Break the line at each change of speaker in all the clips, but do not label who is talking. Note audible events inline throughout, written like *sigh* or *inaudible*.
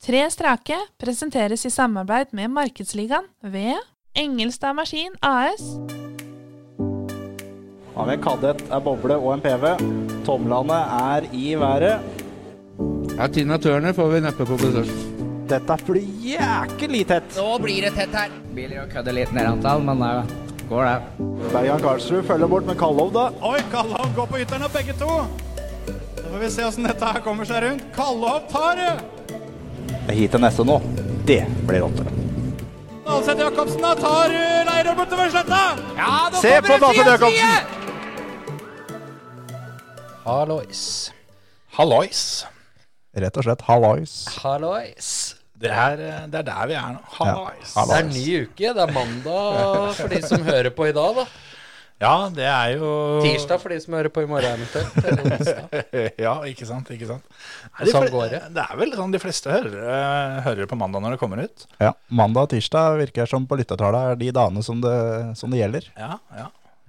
Tre strake presenteres i samarbeid med Markedsligaen ved Engelstad Maskin AS.
Har vi en kadett, en boble og en PV. Tomlene er i været.
Ja, Tina Turner får vi neppe på besøk.
Dette blir jæklig tett.
Nå blir det tett her. Biler og kødder litt nedantall, men det går, det.
Bergan Karlsrud følger bort med Kallov, da.
Oi, Kallov går på ytteren og begge to. Da får vi se åssen dette her kommer seg rundt. Kallov tar det!
Hit til neste nå. Det blir åtte.
Dalseth Jacobsen da tar eh, Leirvoll bortover sletta. Ja, nå
Se på
kommer det
Dalseth
side,
Jacobsen!
side!
Hallois.
Hallois.
Rett og slett hallois.
Hallois.
Det er, eh, det er der vi er nå. Hallois.
hallois.
Ja,
Det er ny uke. Det er mandag for de som hører på i dag, da.
det er jo
Tirsdag for de som hører på i morgen eventuelt. Eller onsdag.
*laughs* Ja, ikke sant. ikke sant. Nei,
Og sånn
fle-
går det.
Det er vel sånn de fleste hører, eh, hører på mandag når det kommer ut.
Ja, Mandag og tirsdag virker som på lyttertallet er de dagene som det, som det gjelder.
Ja, ja.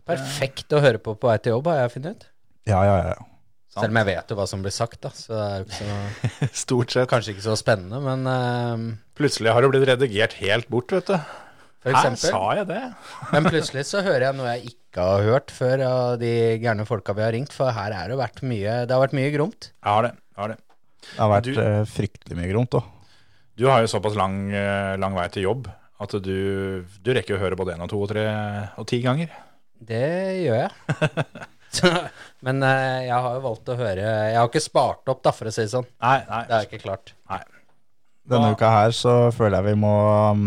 Perfekt å høre på på vei til jobb, har jeg funnet ut.
Ja, ja, ja. ja.
Sant.
Selv om jeg vet jo hva som blir sagt, da. Så det er jo ikke så,
Stort sett.
kanskje ikke så spennende, men ehm,
Plutselig har det blitt redigert helt bort, vet du.
for
Hæ,
eksempel
sa jeg det?
Men plutselig så hører jeg noe jeg ikke har hørt før av de gærne folka vi har ringt, for her er det vært mye, det har vært mye gromt.
Jeg har det. jeg har det.
Det har vært
Du-
eh, fryktelig mye gromt òg.
Du har jo såpass lang, eh, lang vei til jobb at du, du rekker å høre både én og to og tre og ti ganger.
Det gjør
*laughs*
jeg. Så- Men eh, jeg har jo valgt å høre Jeg har ikke spart opp, da, for å si det sånn.
Nei, nei.
Det er ikke klart.
Denne
Ja.
uka her så føler jeg vi må um,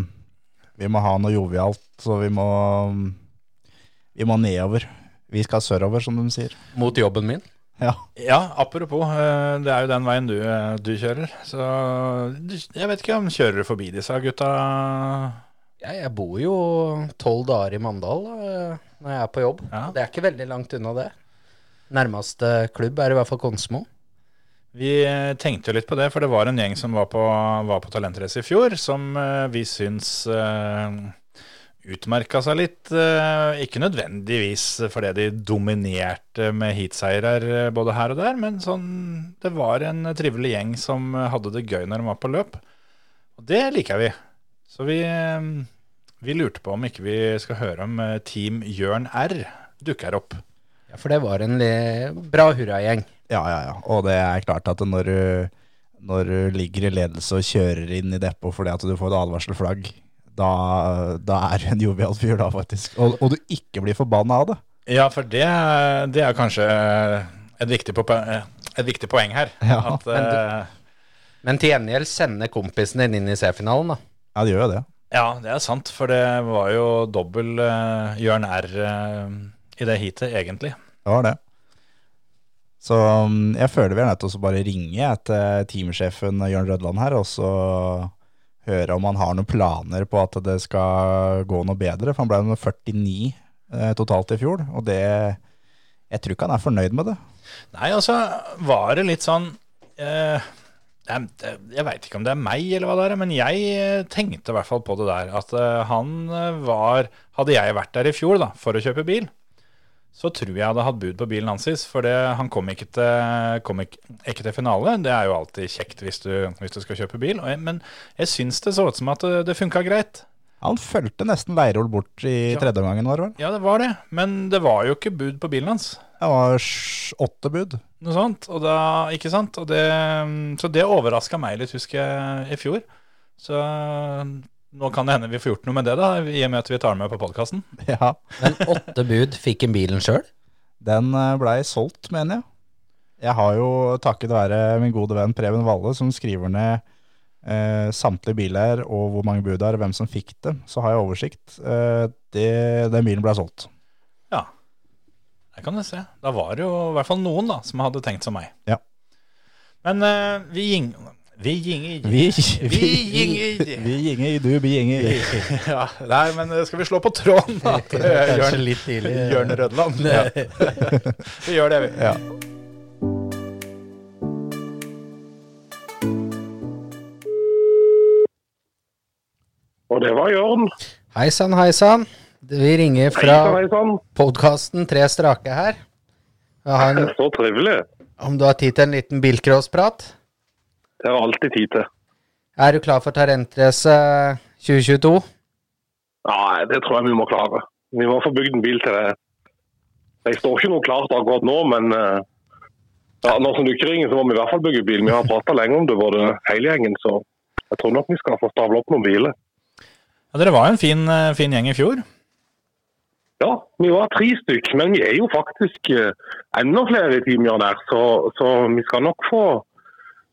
Vi må ha noe jovialt, så vi må um, Vi må nedover. Vi skal sørover, som de sier. *laughs*
Mot jobben min.
Ja.
Ja, apropos, eh, det er jo den veien du, eh, du kjører. Så du- jeg vet ikke om kjører du forbi disse gutta?
Jeg, jeg bor jo tolv dager i Mandal eh, når jeg er på jobb.
Ja.
Det er ikke veldig langt unna det. Nærmeste klubb er i hvert fall Konsmo.
Vi eh, tenkte jo litt på det, for det var en gjeng som var på, var på Talentrace i fjor, som eh, vi syns eh, utmerka seg litt. eh, Ikke nødvendigvis fordi de dominerte med heatseirer eh, både her og der, men sånn, det var en trivelig gjeng som eh, hadde det gøy når de var på løp. Og det liker vi. Så vi, eh, vi lurte på om ikke vi skal høre om eh, Team Jørn R dukker opp.
Ja, for det var en li bra hurragjeng.
Ja, ja, ja. Og det er klart at når du, når du ligger i ledelse og kjører inn i depot fordi at du får et advarselflagg, da, da er du en jovial fyr, da, faktisk. Og, og du ikke blir forbanna av det.
Ja, for det, det er kanskje et viktig, pope- et viktig poeng her.
Ja,
at, eh,
Men til gjengjeld sende kompisen din inn i C-finalen, da.
Ja, det gjør jo det.
ja, det er sant, for det var jo dobbel eh, Jørn R eh, i det heatet, egentlig.
Det var det. Så um, jeg føler vi er nødt til å bare ringe jeg, til teamsjefen Jørn Rødland her, og så høre om han har noen planer på at det skal gå noe bedre. For han ble nummer 49 eh, totalt i fjor, og det Jeg tror ikke han er fornøyd med det.
Nei, altså, var det litt sånn eh, det er- det- Jeg veit ikke om det er meg eller hva det er, men jeg eh, tenkte i hvert fall på det der. At eh, han eh, var Hadde jeg vært der i fjor da, for å kjøpe bil, så tror jeg jeg hadde hatt bud på bilen hans sist. For det, han kom, ikke til, kom ikke, ikke til finale. Det er jo alltid kjekt hvis du, hvis du skal kjøpe bil. Og jeg, men jeg syns det så ut som at det, det funka greit.
Han fulgte nesten Leirol bort i
Ja.
tredje omgangen, var det vel?
Ja, det var det. Men det var jo ikke bud på bilen hans.
Det var sj- åtte bud. *laughs*
Noe sånt. Og da, ikke sant? Og det, mm, så det overraska meg litt, husker jeg, i fjor. Så mm, nå kan det hende vi får gjort noe med det, da, i og med at vi tar den med på podkasten.
Ja.
Men åtte bud fikk en bilen sjøl.
Den eh, blei solgt, mener jeg. Jeg har jo takket være min gode venn Preben Valle, som skriver ned eh, samtlige biler og hvor mange bud det er, og hvem som fikk dem. Så har jeg oversikt. Eh, det, den bilen blei solgt.
Der kan du se. Da var det jo i hvert fall noen da, som hadde tenkt som meg.
Ja.
Men eh, vi ging... Vi ginger.
*laughs* Vi,
ginger.
Vi ginger, du vi ginger.
*laughs* Ja, nei, men eh, skal vi slå på tråden, *laughs* da? til Jørn,
litt tidlig.
Jørn *laughs* Rødland. Ja. vi gjør det, vi.
Ja.
Og det var Jørn.
Hei sann, hei sann. Vi ringer
Hei sann,
fra
hei sann.
podkasten Tre strake her. Jeg har en,
Så trivelig.
om du har tid til en liten bilcrossprat?
Det har jeg alltid tid til.
Er du klar for eh, talentrace 2022?
Nei, det tror jeg vi må klare. Vi må få bygd en bil til det. Jeg står ikke noe klart akkurat nå, men eh, ja, nå som du ikke ringer, så må vi i hvert fall bygge bil. Vi har prata lenge om det, både hele gjengen, så jeg tror nok vi skal få stavla opp noen biler.
Ja, dere var jo en fin, eh, fin gjeng i fjor.
Ja, vi var tre stykk, men vi er jo faktisk eh, enda flere i team, Jan her, så, så vi skal nok få,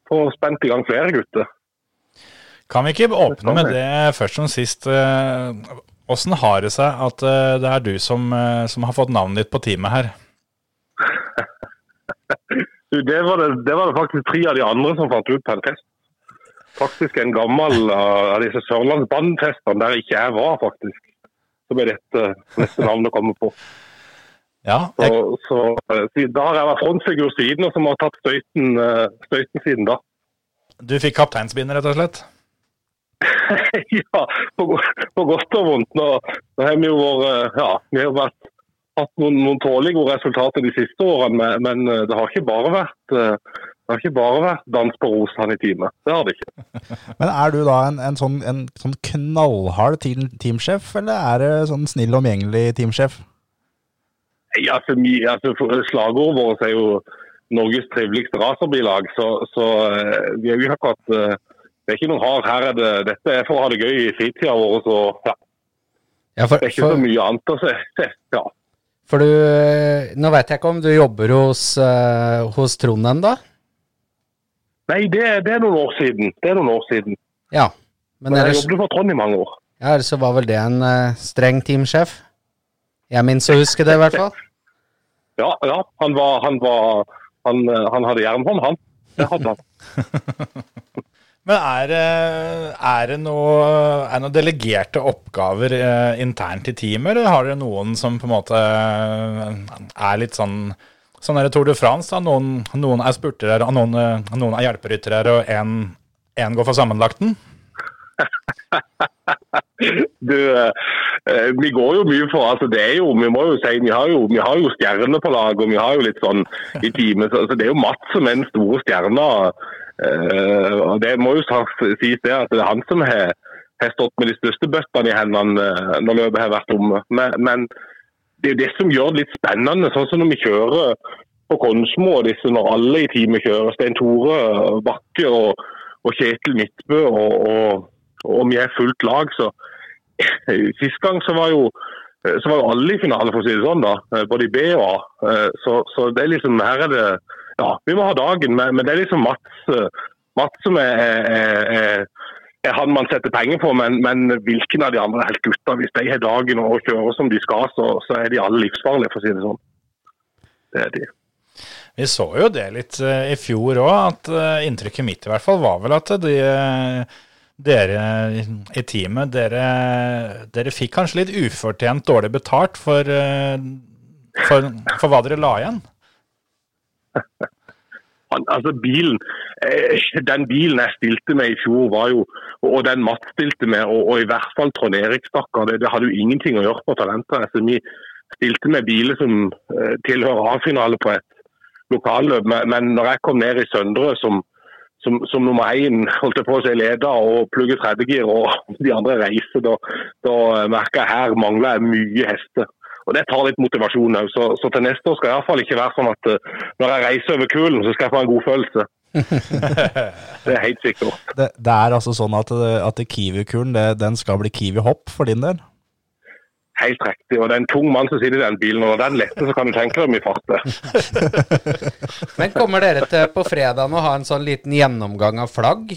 få spent i gang flere gutter.
Kan vi ikke åpne
skal
med
vi.
det først som sist? eh, Åssen har det seg at eh, det er du som, eh, som har fått navnet ditt på teamet her?
Du, det, var det, det var det faktisk tre av de andre som fant ut på en fest. Faktisk en gammel eh, av disse Sørlandsbandfestene der ikke jeg var, faktisk. Så ble dette neste navn å komme på.
Ja,
Så,
jeg,
så, eh, siden da har jeg vært frontfigur siden, og som har tatt støyten, eh, støyten siden da. *laughs*
du fikk kapteinsbind, rett og slett?
ja, på, go- på godt og vondt. Nå, nå har vi jo vært, ja, vi har jo vært, hatt noen, noen tålige gode resultater de siste årene, men, men eh, det har ikke bare vært eh, det har ikke bare vært dans på rosene i time. Det har det ikke.
Men er du da en, en, sånn, en sånn knallhard team, teamsjef, eller er det sånn snill og omgjengelig teamsjef?
Nei, altså, mi, altså, for- Slagordet vårt er jo Norges triveligste racerbilag, så, så eh, vi er jo ikke akkurat eh, Det er ikke noen hard. Her er det, dette er for å ha det gøy i fritida vår. Så ja,
Ja, for,
det er ikke så
for,
mye annet å se. se- Ja.
for du Nå veit jeg ikke om du jobber hos, eh, hos Trond ennå?
Nei, det, det er noen år siden. Det er noen år siden.
Ja. Men
Men jeg
ellers,
jobbet for Trond i mange år.
ja, ellers så var vel det en eh, streng teamsjef? Jeg minnes å huske det, i hvert fall.
Ja, ja han, var, han, var, han, eh, han hadde jernhånd, han. Det hadde han.
Men er, det- er det noe, er det noen delegerte oppgaver eh, internt i teamet, eller har dere noen som på en måte eh, er litt sånn Sånn er det Tour de France, da. Noen, noen er spurtere, og noen, eh, noen er hjelperyttere, og én går for sammenlagten?
Du, eh, eh, vi går jo mye for altså det er jo, Vi må jo si, vi har jo, vi har jo stjerner på lag, og vi har jo litt sånn i teamet. Så, så det er jo Mats som er den store stjerna. Eh, og Det må jo sa- sies det at det er han som har, har stått med de største bøttene i hendene eh, når løpet har vært omme. Men, men det er jo det som gjør det litt spennende. Sånn som når vi kjører på Konsmo og disse, når alle i teamet kjører. Stein Tore eh, Bakke og, og Kjetil Midtbø og, og, og vi er fullt lag, så *laughs* Sist gang så var jo eh, så var jo alle i finale, for å si det sånn. da, Både i B og A. Eh, Så, så det er liksom Her er det Ja, vi må ha dagen, men, men det er liksom Mats, eh, Mats som er, er, er, er han man setter penger på. Men, men hvilken av de andre helt gutta, hvis de har dagen og kjører som de skal, så, så er de alle livsfarlige, for å si det sånn. Det er de.
Vi så jo det litt eh, i fjor òg, at eh, inntrykket mitt i hvert fall var vel at de, eh, dere i teamet, dere, dere fikk kanskje litt ufortjent dårlig betalt for, eh, for, for hva dere la igjen.
Han, altså bilen, eh, Den bilen jeg stilte med i fjor, var jo, og den Mats stilte med, og, og i hvert fall Trond Erik, stakkar, det, det hadde jo ingenting å gjøre på talenter. Altså, vi stilte med biler som eh, tilhører A-finale på et lokalløp, men, men når jeg kom ned i Søndre som, som, som nummer én, holdt jeg på å si leder, og plugget tredjegir, og de andre reiser, da, da merker jeg her mangler jeg mye hester. Og Det tar litt motivasjon òg, så, så til neste år skal det iallfall ikke være sånn at eh, når jeg reiser over kulen, så skal jeg få en god følelse. det er helt sikkert.
Det, det er altså sånn at, at Kiwi-kuren det- den skal bli Kiwi-hopp for din del?
Helt riktig. Og det er en tung mann som sitter i den bilen, og når den letter, så kan du tenke deg om i fart.
Men kommer dere til på fredagen å ha en sånn liten gjennomgang av flagg?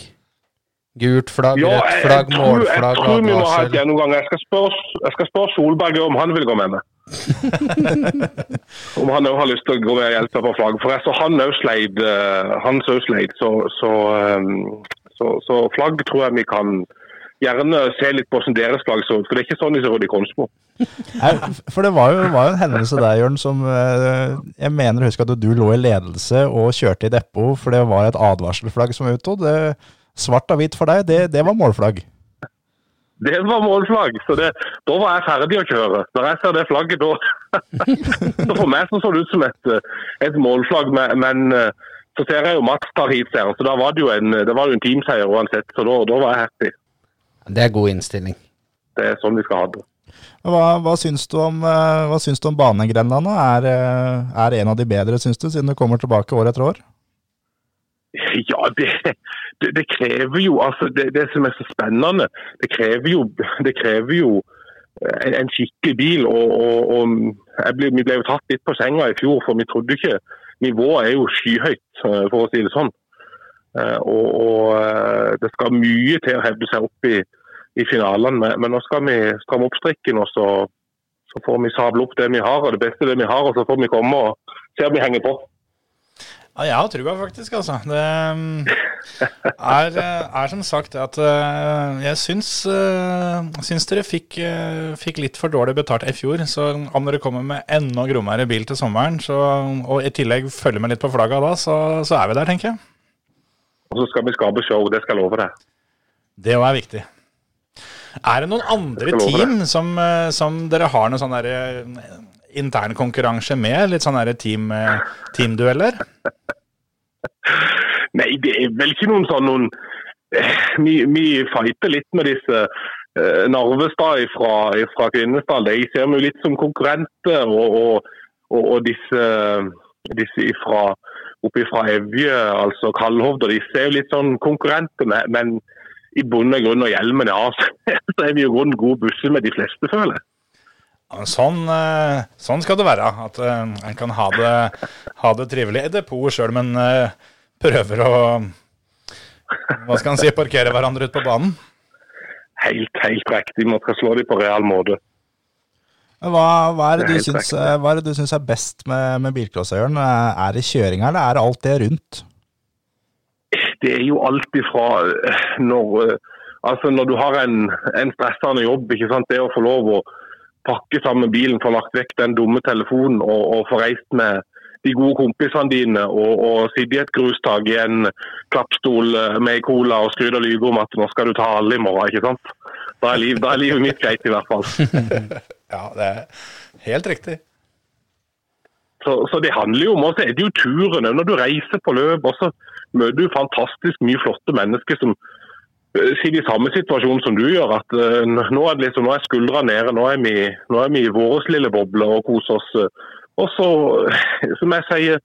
Gult flagg,
Ja, jeg,
rødt
jeg,
flagg,
tror, jeg
målflagg,
tror vi må ha et
advarsel?
gjennomgang. Jeg skal spørre, jeg skal spørre Solberg om han vil gå
*laughs*
med meg. om han òg har lyst til å gå med og hjelpe på flagget. For jeg så han òg sleit, eh, han så sleit. Så, så, eh, så, så flagg tror jeg vi kan gjerne se litt på hvordan deres flagg så ut. For det er ikke sånn de ser ut i Konsmo.
Nei, For det var jo, var jo en hendelse der, Jørn, som eh, jeg mener husker at du lå i ledelse og kjørte i depot, for det var et advarselflagg som utto. Det, svart og hvitt for deg, det, det var målflagg.
Det var målflagg, så det, da var jeg ferdig å kjøre. Når jeg ser det flagget, *laughs* da Så for meg så, så det ut som et, eh, et målflagg, men, men eh, Så ser jeg jo Mats tar heatseieren, så da var det jo en, da var det jo en teamseier uansett. Så da, da var jeg happy.
Det er god innstilling.
Det er sånn vi skal ha det.
Hva, hva, syns du om, eh, hva syns du om banegrenene? Er, eh, er en av de bedre, syns du, siden du kommer tilbake år etter år?
*laughs* Ja, det, det, det krever jo altså det, det som er så spennende, det krever jo, *laughs* det krever jo eh, en, en skikkelig bil. Og, og, og jeg ble, vi ble jo tatt litt på senga i fjor, for vi trodde ikke Nivået er jo skyhøyt, eh, for å si det sånn. Eh, Og, og eh, det skal mye til å hevde seg opp i, i finalen, men, men nå skal vi stramme opp strikken. og så, så får vi sable opp det vi har, og det beste det vi har, og så får vi komme og se om vi henger på.
Ja, jeg har trua faktisk, altså. Det mm, er, eh, er som sagt at eh, jeg syns, eh, syns dere fikk, eh, fikk litt for dårlig betalt i fjor. Så om dere kommer med enda grommere bil til sommeren, så, og i tillegg følger med litt på flagga da, så, så er vi der, tenker jeg.
Og så skal vi skape show, det skal jeg love deg.
Det òg er viktig. Er det noen andre
Jeg skal love
team som, eh, som dere har noen sånn derre intern konkurranse med? Litt sånn derre team, eh, teamdueller?
Nei, det er vel ikke noen sånn noen Vi, vi fighter litt med disse eh, Narvestad fra, fra Kvinesdal. De ser vi jo litt som konkurrenter. Og, og, og, og disse, disse ifra, oppe fra Evje, altså Kalhovd, og disse er jo litt sånn konkurrenter. Men, men i bunn og grunn når hjelmen er av, *laughs* så er vi jo i grunnen gode busser med de fleste, føler jeg.
Ja, men Sånn, eh, sånn skal det være. At eh, en kan ha det, ha det trivelig i depot sjøl, men eh, prøver å Hva skal en si? Parkere hverandre ute på banen?
Helt, helt riktig. Man skal slå dem på real måte.
Hva, hva, er det
Det er
du
helt
syns, eh, hva er det du syns er best med, med bilcrossøren? Eh, Er det kjøringa, eller er det alt det rundt?
det er jo alt ifra eh, når, eh, altså når du har en, en stressende jobb, ikke sant? det å få lov å pakke sammen bilen, få lagt vekk den dumme telefonen og, og få reist med de gode kompisene dine og, og sitte i et grustak i en klappstol eh, med cola og skryte og lyve om at nå skal du ta alle i morgen. ikke sant? Da er, liv, da er livet mitt greit, i hvert fall.
Ja, det er helt riktig.
Så, så det handler jo om, og så er det jo turen. Når du reiser på løp, og så møter du fantastisk mye flotte mennesker som eh, sitter i samme situasjon som du gjør. at eh, n- Nå er, det liksom, nå er skuldra nede, nå er, vi, nå er vi i vår lille boble og koser oss. eh. Og så, *laughs* eh, som jeg sier,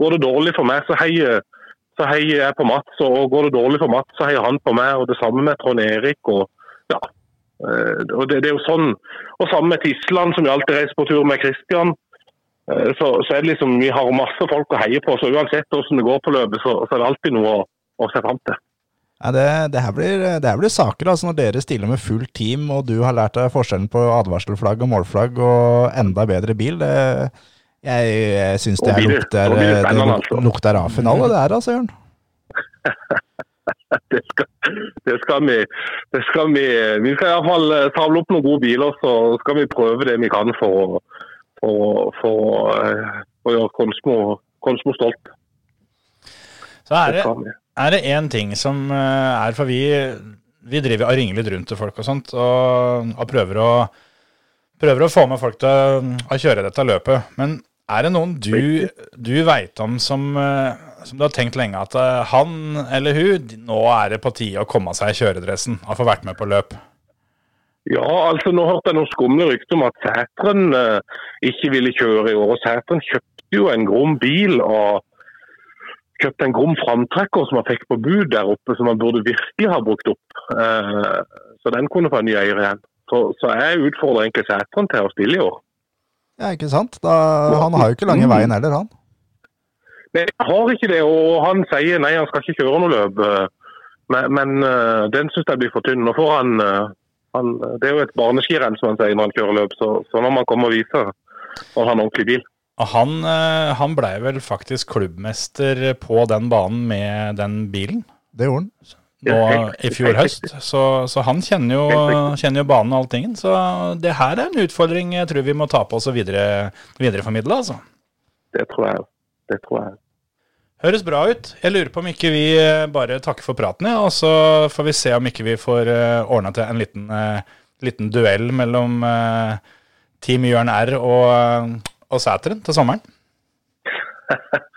går det dårlig for meg, så heier så heier jeg på Mats. Og går det dårlig for Mats, så heier han på meg. Og det samme med Trond Erik. og ja. Eh, Og det, det er jo sånn. Og samme med Tisland, som jeg alltid reiser på tur med Christian. Eh, Så, så er det liksom, Vi har masse folk å heie på, så uansett hvordan det går på løpet, så, så er det alltid noe å, å se fram til. *laughs*
Ja, det, det, her blir, det her blir saker altså når dere stiller med fullt team, og du har lært deg forskjellen på advarselflagg og målflagg og enda bedre bil. Det, jeg jeg syns det
Og
her
biler.
lukter,
Og biler
det
spennende,
luk-
altså.
lukter av finale, det her, altså, Jørn.
Det skal, det skal vi. Det skal vi, vi skal iallfall samle eh, opp noen gode biler, så skal vi prøve det vi kan for å, for, å- for, å, eh, for å gjøre Konsmo, Konsmo stolt.
Så er
Det
det,
skal vi.
er det én ting som eh, er For vi, vi driver og ringer litt rundt til folk og sånt, og, og prøver, å, prøver å få med folk til å- å kjøre dette løpet. Men er det noen du, du veit om som, eh, som du har tenkt lenge at eh, han eller hun Nå er det på tide å komme seg i kjøredressen og få vært med på løp.
Ja, altså nå hørte jeg noen skumle rykter om at Sætren eh, ikke ville kjøre i år. og Sætren kjøpte jo en grom bil og kjøpte en grom framtrekker som han fikk på bud der oppe, som han burde virkelig ha brukt opp. Eh, så den kunne få en ny eier igjen. Så, så jeg utfordrer egentlig Sætren til å stille i år.
Ja, ikke sant? Da, han har jo ikke lange veien heller, han.
Nei, jeg har ikke det, og han sier nei, han skal ikke kjøre noe løp. eh, Men, men eh, den syns jeg blir for tynn. Nå får han, eh, han Det er jo et barneskirenn, som han sier når han kjører løp, så, så når man kommer og viser når han har en ordentlig bil.
Og han, eh, han blei vel faktisk klubbmester på den banen med den bilen.
Det gjorde han.
nå
Helt
i
riktig,
fjor
helt
høst. Så, så han kjenner jo,
Helt
kjenner jo banen og alltingen. Så det her er en utfordring jeg tror vi må ta på oss og videre, videreformidle. Altså.
Det tror jeg. Det tror jeg.
Høres bra ut. Jeg lurer på om ikke vi eh, bare takker for praten, ja, og så får vi se om ikke vi får ordna til en liten, eh, liten duell mellom eh, Team Jørn R og, og Sæteren til sommeren.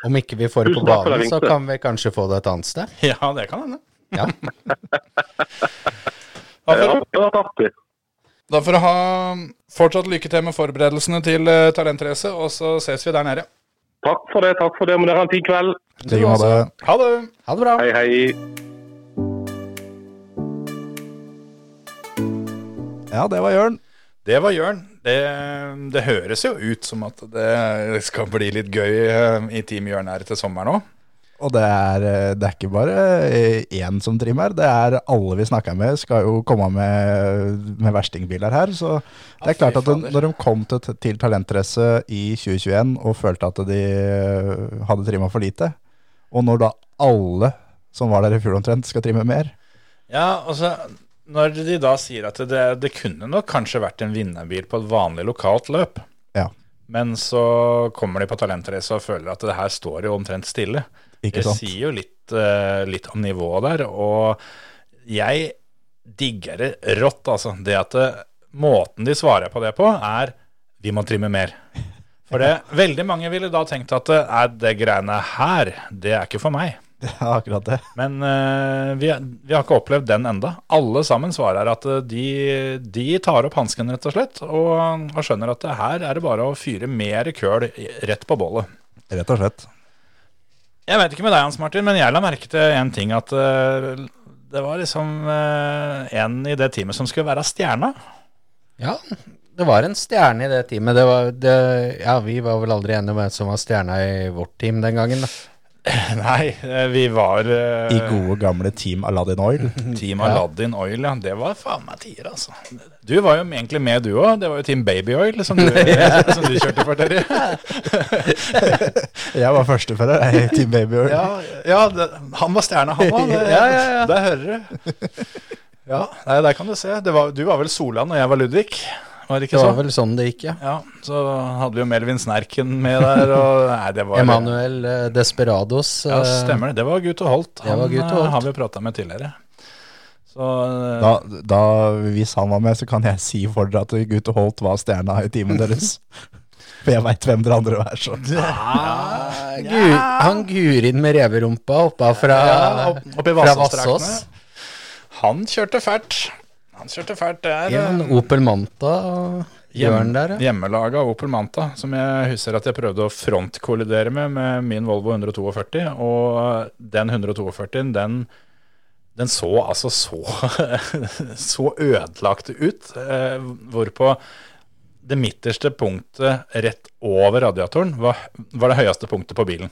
Om ikke vi får det på
Tusen takk for at
banen,
jeg
så
ringte.
kan vi kanskje få det et annet sted.
*laughs* Ja, det kan hende.
Ja.
Da
Ja,
får,
det var artig.
da får du ha fortsatt lykke til med forberedelsene til eh, talentrace, og så ses vi der nede.
Takk for det, takk for det. Må dere ha en fin kveld.
I like måte.
Ha det!
Ha det bra.
Hei, hei.
Ja, det var Jørn.
Det var Jørn. Det, det høres jo ut som at det skal bli litt gøy eh, i Team Jørn her til sommeren òg.
Og det er, eh, det er ikke bare eh, én som trimmer, det er alle vi snakker med skal jo komme med, med verstingbiler her. Så det er
Ja, fy
klart at den,
fader.
når de kom til, til talentrace i 2021 og følte at de eh, hadde trimma for lite, og når da alle som var der i fjor omtrent, skal trimme mer
Ja, altså Når de da sier at det, det kunne nok kanskje vært en vinnerbil på et vanlig lokalt løp,
Ja.
men så kommer de på talentrace og føler at det her står jo omtrent stille.
Ikke
det
sant?
sier jo litt, eh, litt om nivået der. Og jeg digger det rått, altså. Det at eh, måten de svarer på det på, er vi må trimme mer. For det,
*laughs*
veldig mange ville da tenkt at eh, nei, det greiene her, det er ikke for meg.
Ja, *laughs* akkurat det.
Men eh, vi, vi har ikke opplevd den enda. Alle sammen svarer at eh, de, de tar opp hansken, rett og slett, og, og skjønner at det her er det bare å fyre mer køl i- rett på bålet.
Rett og slett.
Jeg vet ikke med deg, Hans Martin, men jeg la merke til en ting at eh, det var liksom eh, en i det teamet som skulle være stjerna. *laughs*
Ja, det var en stjerne i det teamet. Det var, det, ja, vi var vel aldri enige om hvem som var stjerna i vårt team den gangen. Da.
Nei, eh, vi var eh,
I gode gamle Team Aladdin Oil.
Team Aladdin Oil, ja. Det var faen meg tider, altså. Du var jo egentlig med, du òg. Det var jo Team Baby Oil som *laughs* du, som du kjørte for, Terje.
Jeg var førstefører i Team Baby Oil.
*laughs* Ja, ja det, han var stjerna, han *laughs* òg. Ja, ja, ja. Der hører du. *laughs* Ja, nei, der kan du se. Det var, du var vel Solan, og jeg var Ludvig. Var det
Det
ikke
var
så?
vel sånn det gikk, ja.
Ja, så hadde vi jo Melvin Snerken med der, og *laughs* nei, det var
Emanuel eh, Desperados.
Ja,
eh,
stemmer det. Det var Gutt og Holt.
Det
Han
var Gutt og
eh,
Holt.
har vi prata med tidligere. Så eh,
Da, da, hvis han var med, så kan jeg si for dere at Gutte Holt var stjerna i teamet *laughs* deres. For jeg veit hvem dere andre er. Så.
Ah, gu, han Gurin med reverumpa oppa fra,
ja, opp, opp i
fra
Vassåsdraktene.
Vassås.
Han kjørte fælt. Han kjørte fælt der.
Ja, en Opel Manta og Jørn der, ja.
Hjemmelaga Opel Manta, som jeg husker at jeg prøvde å frontkollidere med med min Volvo 142. Og den 142-en, den, den så altså så, *laughs* så ødelagt ut. Eh, hvorpå det midterste punktet rett over radiatoren var, var det høyeste punktet på bilen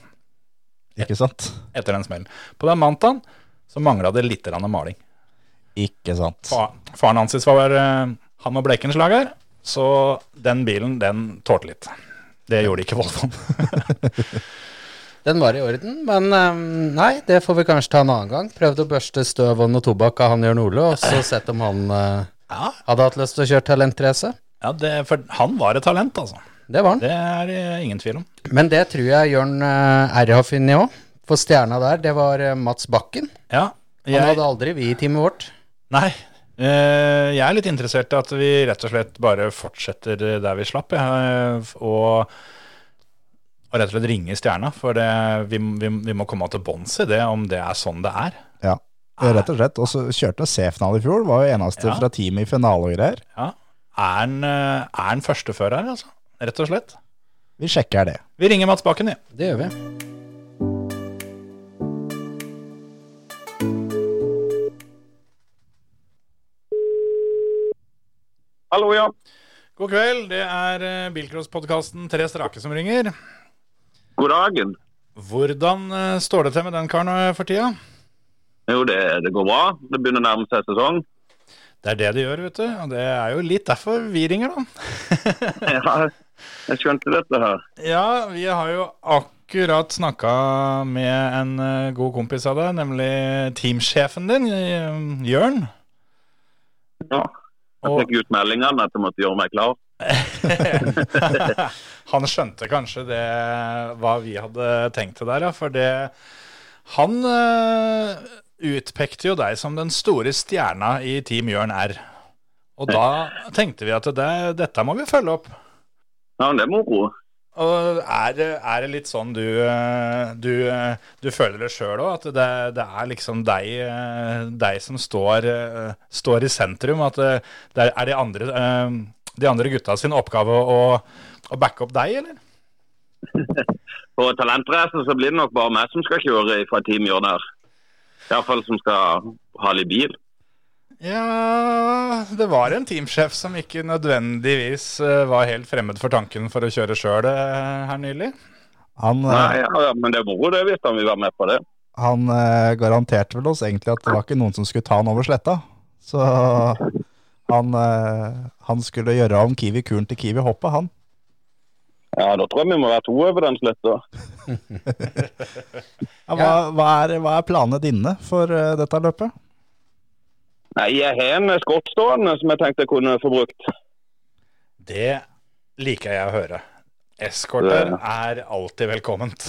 Ikke sant?
etter den smellen. På den Mantaen så mangla det litt grann maling.
Ikke sant.
Fa- Faren hans var eh, han var Bleikenslager, så den bilen den tålte litt. Det gjorde ikke Volvoen.
Den var i orden, men eh, nei, det får vi kanskje ta en annen gang. Prøvde å børste støv og noe tobakk av han Jørn Ole, og så sett om han eh,
Ja.
hadde hatt lyst til å kjøre talentrace.
*laughs* Ja, det, for han var et talent, altså.
Det var han.
Det er det ingen tvil om.
Men det tror jeg Jørn eh, R har funnet òg. For stjerna der, det var eh, Mats Bakken.
Ja,
Han hadde
jeg,
aldri vi i teamet vårt.
nei, eh, jeg er litt interessert i at vi rett og slett bare fortsetter der vi slapp, ja, eh, og, og rett og slett ringe stjerna, for det, vi, vi, vi må komme til bånds i det, om det er sånn det er.
Ja. Rett og slett. Og så kjørte han C-finale i fjor. Var jo eneste
Ja.
fra teamet i finale og greier.
Ja. Er han, eh, er han førstefører, altså? Rett og slett.
Vi sjekker det.
Vi ringer Mats Bakken, vi.
Det gjør vi.
Hallo, ja.
God kveld, det er eh, Bilcross-podkasten Tre strake som ringer.
God dagen.
Hvordan eh, står det til med den karen eh, for tida?
Jo, det, det går bra. Det begynner å nærme seg sesong.
Det er det de gjør, vet du. Og det er jo litt derfor vi ringer, da.
Ja, jeg skjønte dette her.
Ja, vi har jo akkurat snakka med en eh, god kompis av deg, nemlig teamsjefen din, eh, Jørn.
Ja. Jeg
Og-
fikk ut meldingene at jeg måtte gjøre meg klar.
*laughs* han skjønte kanskje det hva vi hadde tenkt til der, ja. For det Han eh, utpekte jo deg som den store stjerna i Team Jørn R. Og da tenkte vi at det, dette må vi følge opp.
Ja, men det er moro.
Og er, det- er det litt sånn du, eh, du, eh, du føler det sjøl òg? At det, det er liksom deg, eh, deg som står, eh, står i sentrum? At eh, det er de andre, eh, de andre gutta sin oppgave å, å backe opp deg, eller?
På talentracet så blir det nok bare meg som skal kjøre fra Team Jørn her. Iallfall som skal ha litt bil.
Ja Det var en teamsjef som ikke nødvendigvis eh, var helt fremmed for tanken for å kjøre sjøl her nylig.
Han,
Nei,
eh,
ja, ja, men det er moro det, hvis han vil være med på det.
han eh, garanterte vel oss egentlig at det var ikke noen som skulle ta han over sletta. Så han, eh, han skulle gjøre om Kiwi-kuren til Kiwi-hoppet, han.
Ja, Da tror jeg vi må være to over den sletta.
Ja, hva, hva, er, hva er planene dine for eh, dette løpet?
Nei, jeg har en skott stående som jeg tenkte jeg kunne få brukt.
Det liker jeg å høre. Eskorter er alltid velkomment.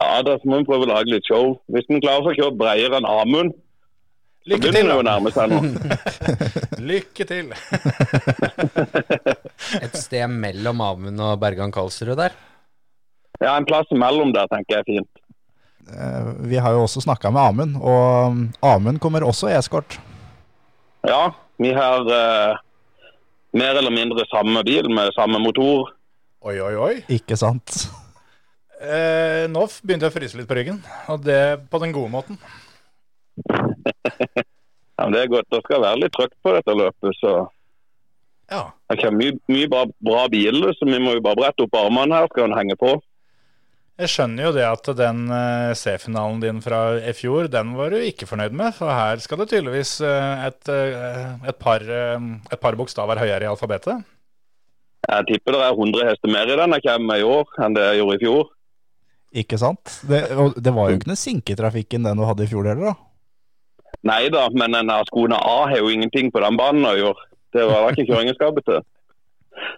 Ja, Da må vi prøve å lage litt show. Hvis vi klarer å få kjørt bredere enn Amund, så
Lykke til,
begynner det jo å
da.
nærme seg nå.
*laughs* Lykke til.
Et sted mellom Amund og Bergan Karlsrud der.
Ja, En plass imellom der tenker jeg er fint.
Eh, Vi har jo også snakka med Amund, og mm, Amund kommer også i eskort.
Ja, vi har eh, mer eller mindre samme bil med samme motor.
Oi, oi, oi.
Ikke sant? *laughs*
Eh, nå f- begynte jeg å fryse litt på ryggen, og det på den gode måten.
Ja, men det er godt. Det skal være litt trøkk på dette løpet. så
Ja.
Det kommer mye, mye bra, bra biler, så vi må jo bare brette opp armene her. Skal den henge på?
Jeg skjønner jo det at den eh, C-finalen din fra i fjor, den var du ikke fornøyd med, for her skal det tydeligvis eh, et, eh, et, par, eh, et par bokstaver høyere i alfabetet.
Jeg tipper det er 100 hester mer i den jeg kommer med i år enn det jeg gjorde i fjor.
Ikke sant? Det, og det var jo ikke noe sinketrafikken den du hadde i fjor heller, da.
Nei da, men den her skoene A har jo ingenting på den banen å gjøre. Det var det ikke kjøringsskapet til.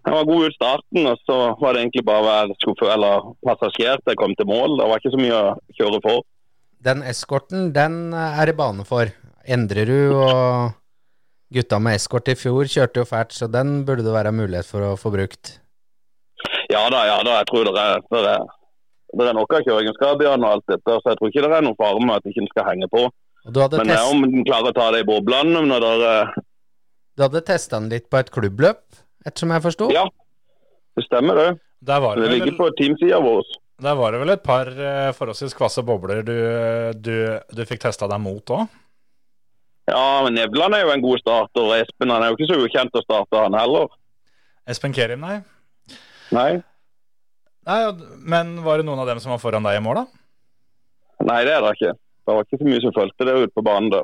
Den var god ut starten, og så var det egentlig bare å være sjåfør eller passasjer til jeg kom til mål. Det var ikke så mye å kjøre for.
Den eskorten, den eh, er i bane for. Endrerud og gutta med eskort i fjor kjørte jo fælt, så den burde det være mulighet for å få brukt.
Ja da, ja da. Jeg tror det er, det er, det er nok av kjøringsskap i den og alt dette, så jeg tror ikke det er noen fare med at ikke den skal henge på.
Og du hadde,
Men det er
test,
om den klarer å ta det i boblene når det er
du hadde testa den litt på et klubbløp, ettersom jeg forsto?
Ja, det stemmer det.
Der var
Det
det
ligger
vel,
på teamsida vår.
der var det vel et par eh, forholdsvis kvasse bobler du, eh, du, du fikk testa deg mot òg.
Ja, men Nevland er jo en god starter. og Espen han er jo ikke så ukjent å starte, han heller.
Espen Kerim, nei.
Nei,
nei. og- Men var det noen av dem som var foran deg i mål, da?
Nei det er det ikke. Det var ikke så mye som fulgte det ute på banen. da.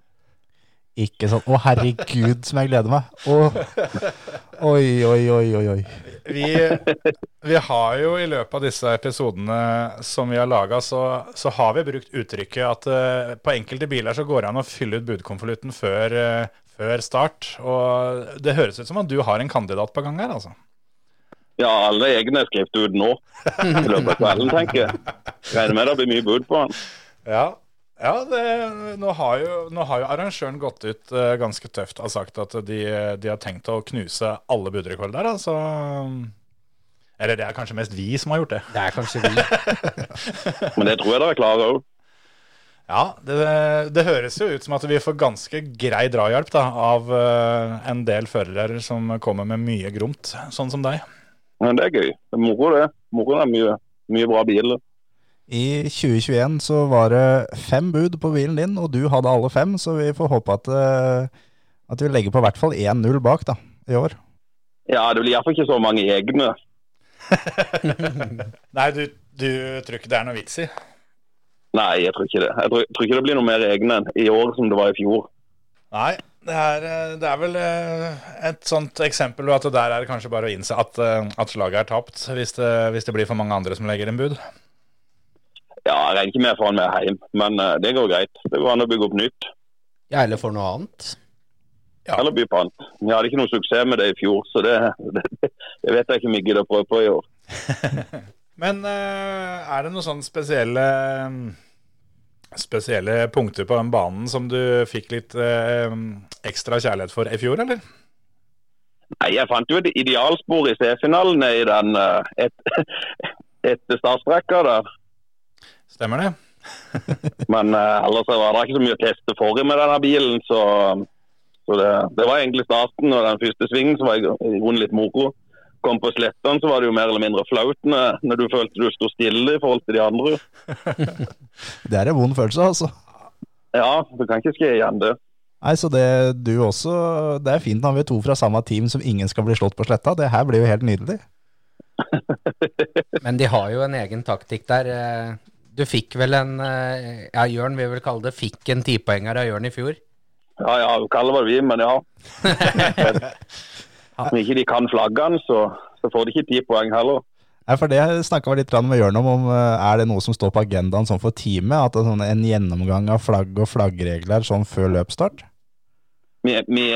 Ikke sant? Å, herregud, som jeg gleder meg. Å, oi, oi, oi, oi, oi.
vi, vi har jo i løpet av disse episodene som vi har laga, så, så har vi brukt uttrykket at eh, på enkelte biler så går det an å fylle ut budkonvolutten før, eh, før start. Og det høres ut som at du har en kandidat på gang her, altså.
Ja, alle egne er skrevet ut nå i løpet av kvelden, tenker jeg. Regner med det blir mye bud på han.
Ja, ja det, nå, har jo, nå har jo arrangøren gått ut eh, ganske tøft og sagt at de, de har tenkt å knuse alle budrekorder. Altså, eller det er kanskje mest vi som har gjort det.
Det er kanskje vi.
Men det tror jeg dere klarer òg.
Ja, det, det høres jo ut som at vi får ganske grei drahjelp da, av eh, en del førere som kommer med mye gromt, sånn som deg.
Men det er gøy. Det er moro, det. Moro er mye, mye bra biler.
I 2021 så var det fem bud på bilen din, og du hadde alle fem, så vi får håpe at, eh, at vi legger på i hvert fall 1-0 bak da, i år.
Ja, det blir iallfall ikke så mange egne.
Nei, du, du tror ikke det er noe vits i?
Nei, jeg tror ikke det. Jeg tror, tror ikke det blir noe mer egne enn i år som det var i fjor.
Nei, det er, eh, det er vel eh, et sånt eksempel at der er det kanskje bare å innse at, eh, at slaget er tapt, hvis det, hvis det blir for mange andre som legger inn bud.
Ja, jeg regner ikke med å få han med hjem, men eh, det går greit. Det går an å bygge opp nytt.
Ja, eller for noe annet.
Ja.
Eller by på annet. Vi hadde ikke noe suksess med det i fjor, så det, *laughs* det, det vet jeg ikke om vi gidder å prøve på i år.
Men eh, er det noen sånne spesielle eh, Spesielle punkter på den banen som du fikk litt eh, ekstra kjærlighet for i fjor, eller?
Nei, jeg fant jo et idealspor i C-finalen i den eh, et, *laughs* et startstrekka der.
Stemmer det?
Men eh, ellers så var det ikke så mye å teste for med denne bilen, så, så det, det var egentlig starten. Og den første svingen så var jeg i grunnen litt moro. Kom på slettene så var det jo mer eller mindre flaut når, når du følte du sto stille i forhold til de andre.
Det er en vond følelse, altså.
Ja, du kan ikke skje igjen det.
Nei, så det du også Det er fint når vi er to fra samme team som ingen skal bli slått på sletta. Det her blir jo helt nydelig.
Men de har jo en egen taktikk der. eh, Du fikk vel en eh, Ja, Jørn vil vel kalle det fikk en tipoenger av Jørn i fjor.
Ja, ja, kall det hva du vil, men ja. Om ikke de kan flaggene, så, så får de ikke ti poeng heller.
Nei, for det snakka vi litt grann med Jørn om, om eh, er det noe som står på agendaen sånn for teamet? At det er sånn en gjennomgang av flagg og flaggregler sånn før løpsstart?
Vi, vi,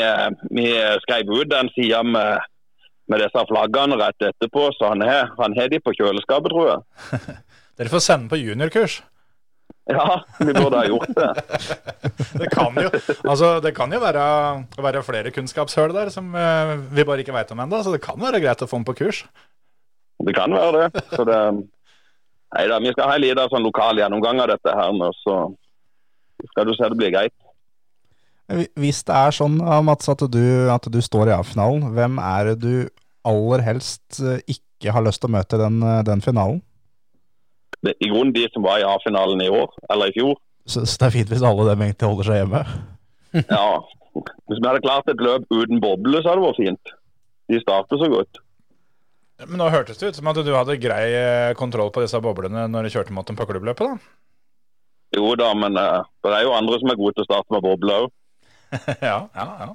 vi skrev ut den sida med, med disse flaggene rett etterpå, så han har han har de på kjøleskapet, tror jeg.
Dere får sende på juniorkurs.
Ja, vi burde ha gjort det.
Det kan jo, altså, det kan jo være, være flere kunnskapshull der som eh, vi bare ikke veit om ennå, så det kan være greit å få den på kurs.
Det kan være det. Så det nei da, vi skal ha en liten sånn lokal gjennomgang av dette her nå, så skal du se det blir greit.
Hvis det er sånn, ah, Mats, at du, at du står i A-finalen, hvem er det du aller helst eh, ikke har lyst til å møte i den, eh, den finalen?
Det, I grunnen de som var i A-finalen i år, eller i fjor.
Så, så det er fint hvis alle dem egentlig holder seg hjemme.
Ja. Hvis vi hadde klart et løp uten boble, så hadde det vært fint. De starter så godt.
Men nå hørtes det ut som at du hadde grei eh, kontroll på disse boblene når du kjørte mot dem på klubbløpet, da.
Jo da, men eh, det er jo andre som er gode til å starte med boble òg.
ja, ja, ja.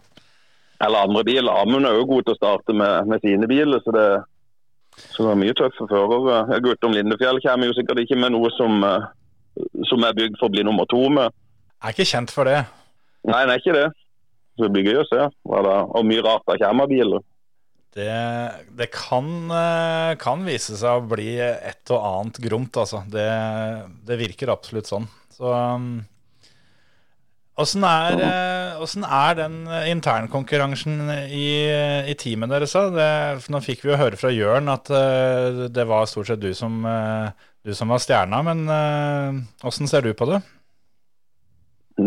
Eller andre biler. Amund er jo god til å starte med, med sine biler, så det, så det er mye tøffe førere. Eh, Ja, Guttorm Lindefjell kommer jo sikkert ikke med noe som, eh, som er bygd for å bli nummer to med.
Er ikke kjent for det.
Nei, det er ikke det. Så det blir gøy å se hva det er. Og mye rart det kommer av biler.
Det, det kan, eh, kan vise seg å bli et og annet gromt, altså. Det, det virker absolutt sånn. Så um, Åssen er, eh, hvordan er den internkonkurransen i, i teamet deres? da? Det, for nå fikk vi jo høre fra Jørn at eh, det var stort sett du som, eh, du som var stjerna, men eh, åssen ser du på det?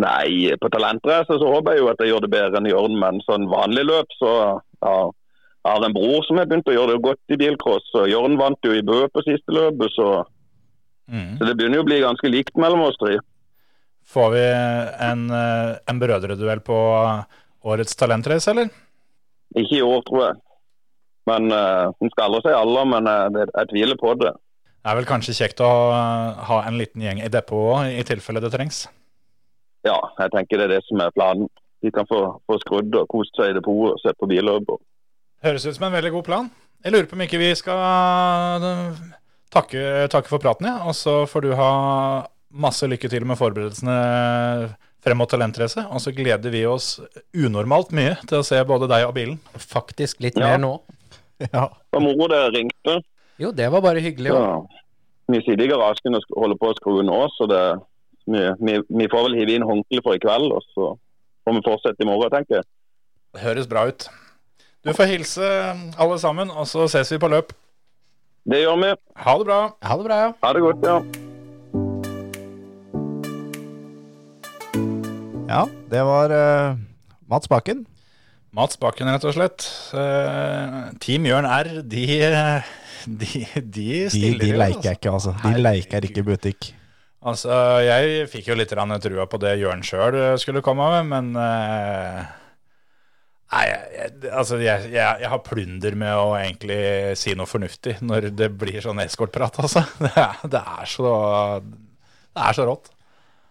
Nei, på talentrace så håper jeg jo at jeg gjør det bedre enn Jørn, men sånn vanlig løp så ja, jeg har en bror som har begynt å gjøre det godt i bilcross. så Jørn vant jo i Bø på siste løpet, så,
Mm.
så det begynner jo å bli ganske likt mellom oss tre.
Får vi en, eh, en brødreduell på årets talentrace, eller?
Ikke i år, tror jeg. Men uh, En skal aldri si alle, men eh, det, jeg tviler på det.
Det er vel kanskje kjekt å eh, ha en liten gjeng i depot òg, i tilfelle det trengs.
Ja, jeg tenker det er det som er planen. De kan få, få skrudd og kost seg i depotet og se på billøp. og-
Høres ut som en veldig god plan. Jeg lurer på om ikke vi skal eh, takke, takke for praten, ja. og så får du ha masse lykke til med forberedelsene frem mot talentrace. Og så gleder vi oss unormalt mye til å se både deg og bilen.
Faktisk litt
Ja.
mer nå.
*laughs* Ja.
Det var moro det ringte.
Jo, det var bare hyggelig. jo.
Ja. Vi sitter i garasjen og sk- holder på å skru nå, så det, vi, vi, vi får vel hive inn håndkle for i kveld. Og så får vi fortsette i morgen, tenker jeg.
Det høres bra ut. Du får hilse eh, alle sammen, og så ses vi på løp.
Det gjør vi.
Ha det bra.
Ha det bra, ja.
Ha det godt, ja.
Ja, det var eh, Mats Bakken.
Mats Bakken, rett og slett. Eh, Team Jørn R, de, de, de
De,
stiller
de
jo,
leker
altså.
jeg ikke, altså. De leker ikke i butikk.
Altså, jeg fikk jo litt grann trua på det Jørn sjøl eh, skulle komme med, men eh, Nei, jeg, jeg- altså, jeg, jeg, jeg har plunder med å egentlig si noe fornuftig når det blir sånn eskortprat, altså. *laughs* Det er, det er så Det er så rått.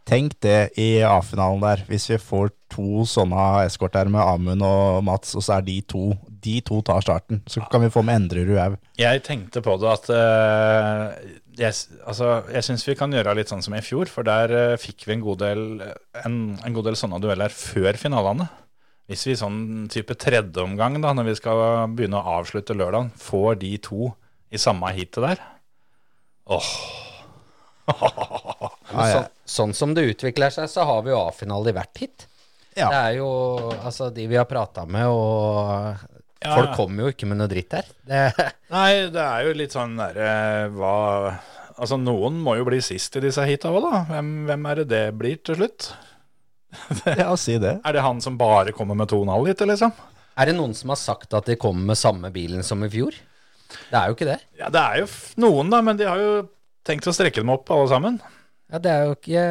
Tenk det i A-finalen der, hvis vi får to sånne eskorter med Amund og Mats, og så er de to De to tar starten. Så kan vi få med Endrerud au.
Jeg tenkte på det at eh, jeg, s- altså, jeg syns vi kan gjøre litt sånn som i fjor, for der eh, fikk vi en god del, en, en god del sånne dueller før finalene. Hvis vi i sånn type tredjeomgang, da, når vi skal begynne å avslutte lørdagen, får de to i samme heatet der Åh! *laughs*
Så, sånn som det utvikler seg, så har vi jo A-finale i hvert hit.
Ja.
Det er jo altså de vi har prata med, og
Ja,
Folk
ja.
kommer jo ikke med noe dritt her. Det,
Nei, det er jo litt sånn derre Hva Altså, noen må jo bli sist i disse heata òg, da. Hvem, hvem er det det blir til slutt?
Ja, si det.
Er det han som bare kommer med 2,5 liter, liksom?
er det noen som har sagt at de kommer med samme bilen som i fjor? Det er jo ikke det.
Ja, det er jo f- noen, da, men de har jo tenkt å strekke dem opp, alle sammen.
Ja, det er jo ikke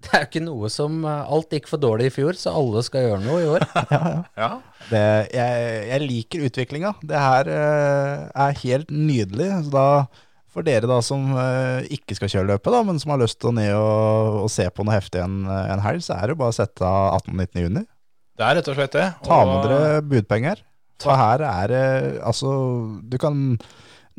Det er jo ikke noe som eh, Alt gikk for dårlig i fjor, så alle skal gjøre noe i år.
Ja.
det jeg, jeg liker utviklinga. Det her eh, er helt nydelig. Så da for dere da som eh, ikke skal kjøre løpet, da, men som har lyst til å ned og, og se på noe heftig en, en helg, så er det jo bare å sette av 18-19. juni.
Det er rett og slett det.
Ta
Og-
med dere budpenger. For her er det Altså, du kan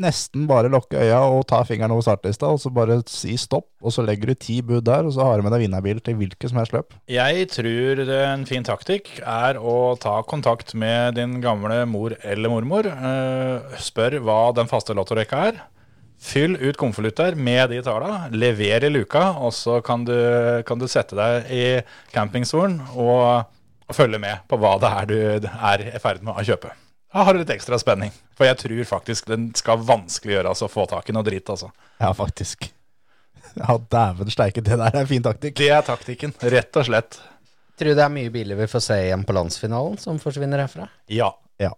nesten bare lukke øya og ta fingeren over startlista, og så bare si stopp, og så legger du ti bud der, og så har du med deg vinnerbil til hvilket som helst løp.
Jeg tror det er en fin taktikk er å ta kontakt med din gamle mor eller mormor. eh, Spør hva den faste lottorekka er. Fyll ut konvolutter med de talla, lever i luka, og så kan du, kan du sette deg i campingstolen og, og følge med på hva det er du er i ferd med å kjøpe. Da har du litt ekstra spenning. For jeg tror faktisk den skal vanskeliggjøres å få tak i noe dritt, altså.
Ja, faktisk. *laughs* Ja, dæven steike, det der er fin taktikk.
Det er taktikken, rett og slett.
Tror du det er mye biler vi får se igjen på landsfinalen som forsvinner herfra?
Ja. *laughs*
Ja.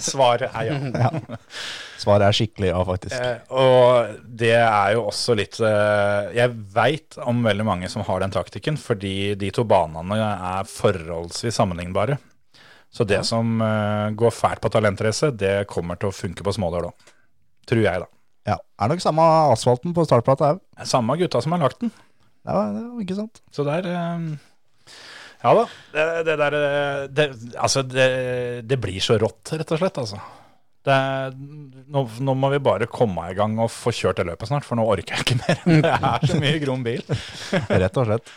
Svaret er ja.
Svaret er skikkelig ja, faktisk.
Eh, og det er jo også litt eh, Jeg veit om veldig mange som har den taktikken, fordi de to banene er forholdsvis sammenlignbare. Så det som eh, går fælt på talentrace, det kommer til å funke på smådøl òg. Tror jeg, da.
Ja, Er nok samme asfalten på startplata òg.
Samme gutta som har lagt den.
Det var- det var ikke sant.
Så der eh, Ja da. Det, det der eh, det, Altså, det, det blir så rått, rett og slett, altså. Det er, nå, nå må vi bare komme i gang og få kjørt det løpet snart, for nå orker jeg ikke mer. *laughs* Det er så mye grom bil.
Rett og slett.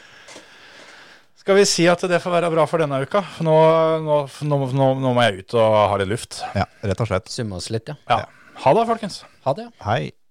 Skal vi si at det får være bra for denne uka? Nå, nå, nå, nå, nå må jeg ut og ha litt luft.
Ja, rett og slett.
Summe oss litt, ja.
Ja. Ha det, folkens.
Ha det, ja.
Hei.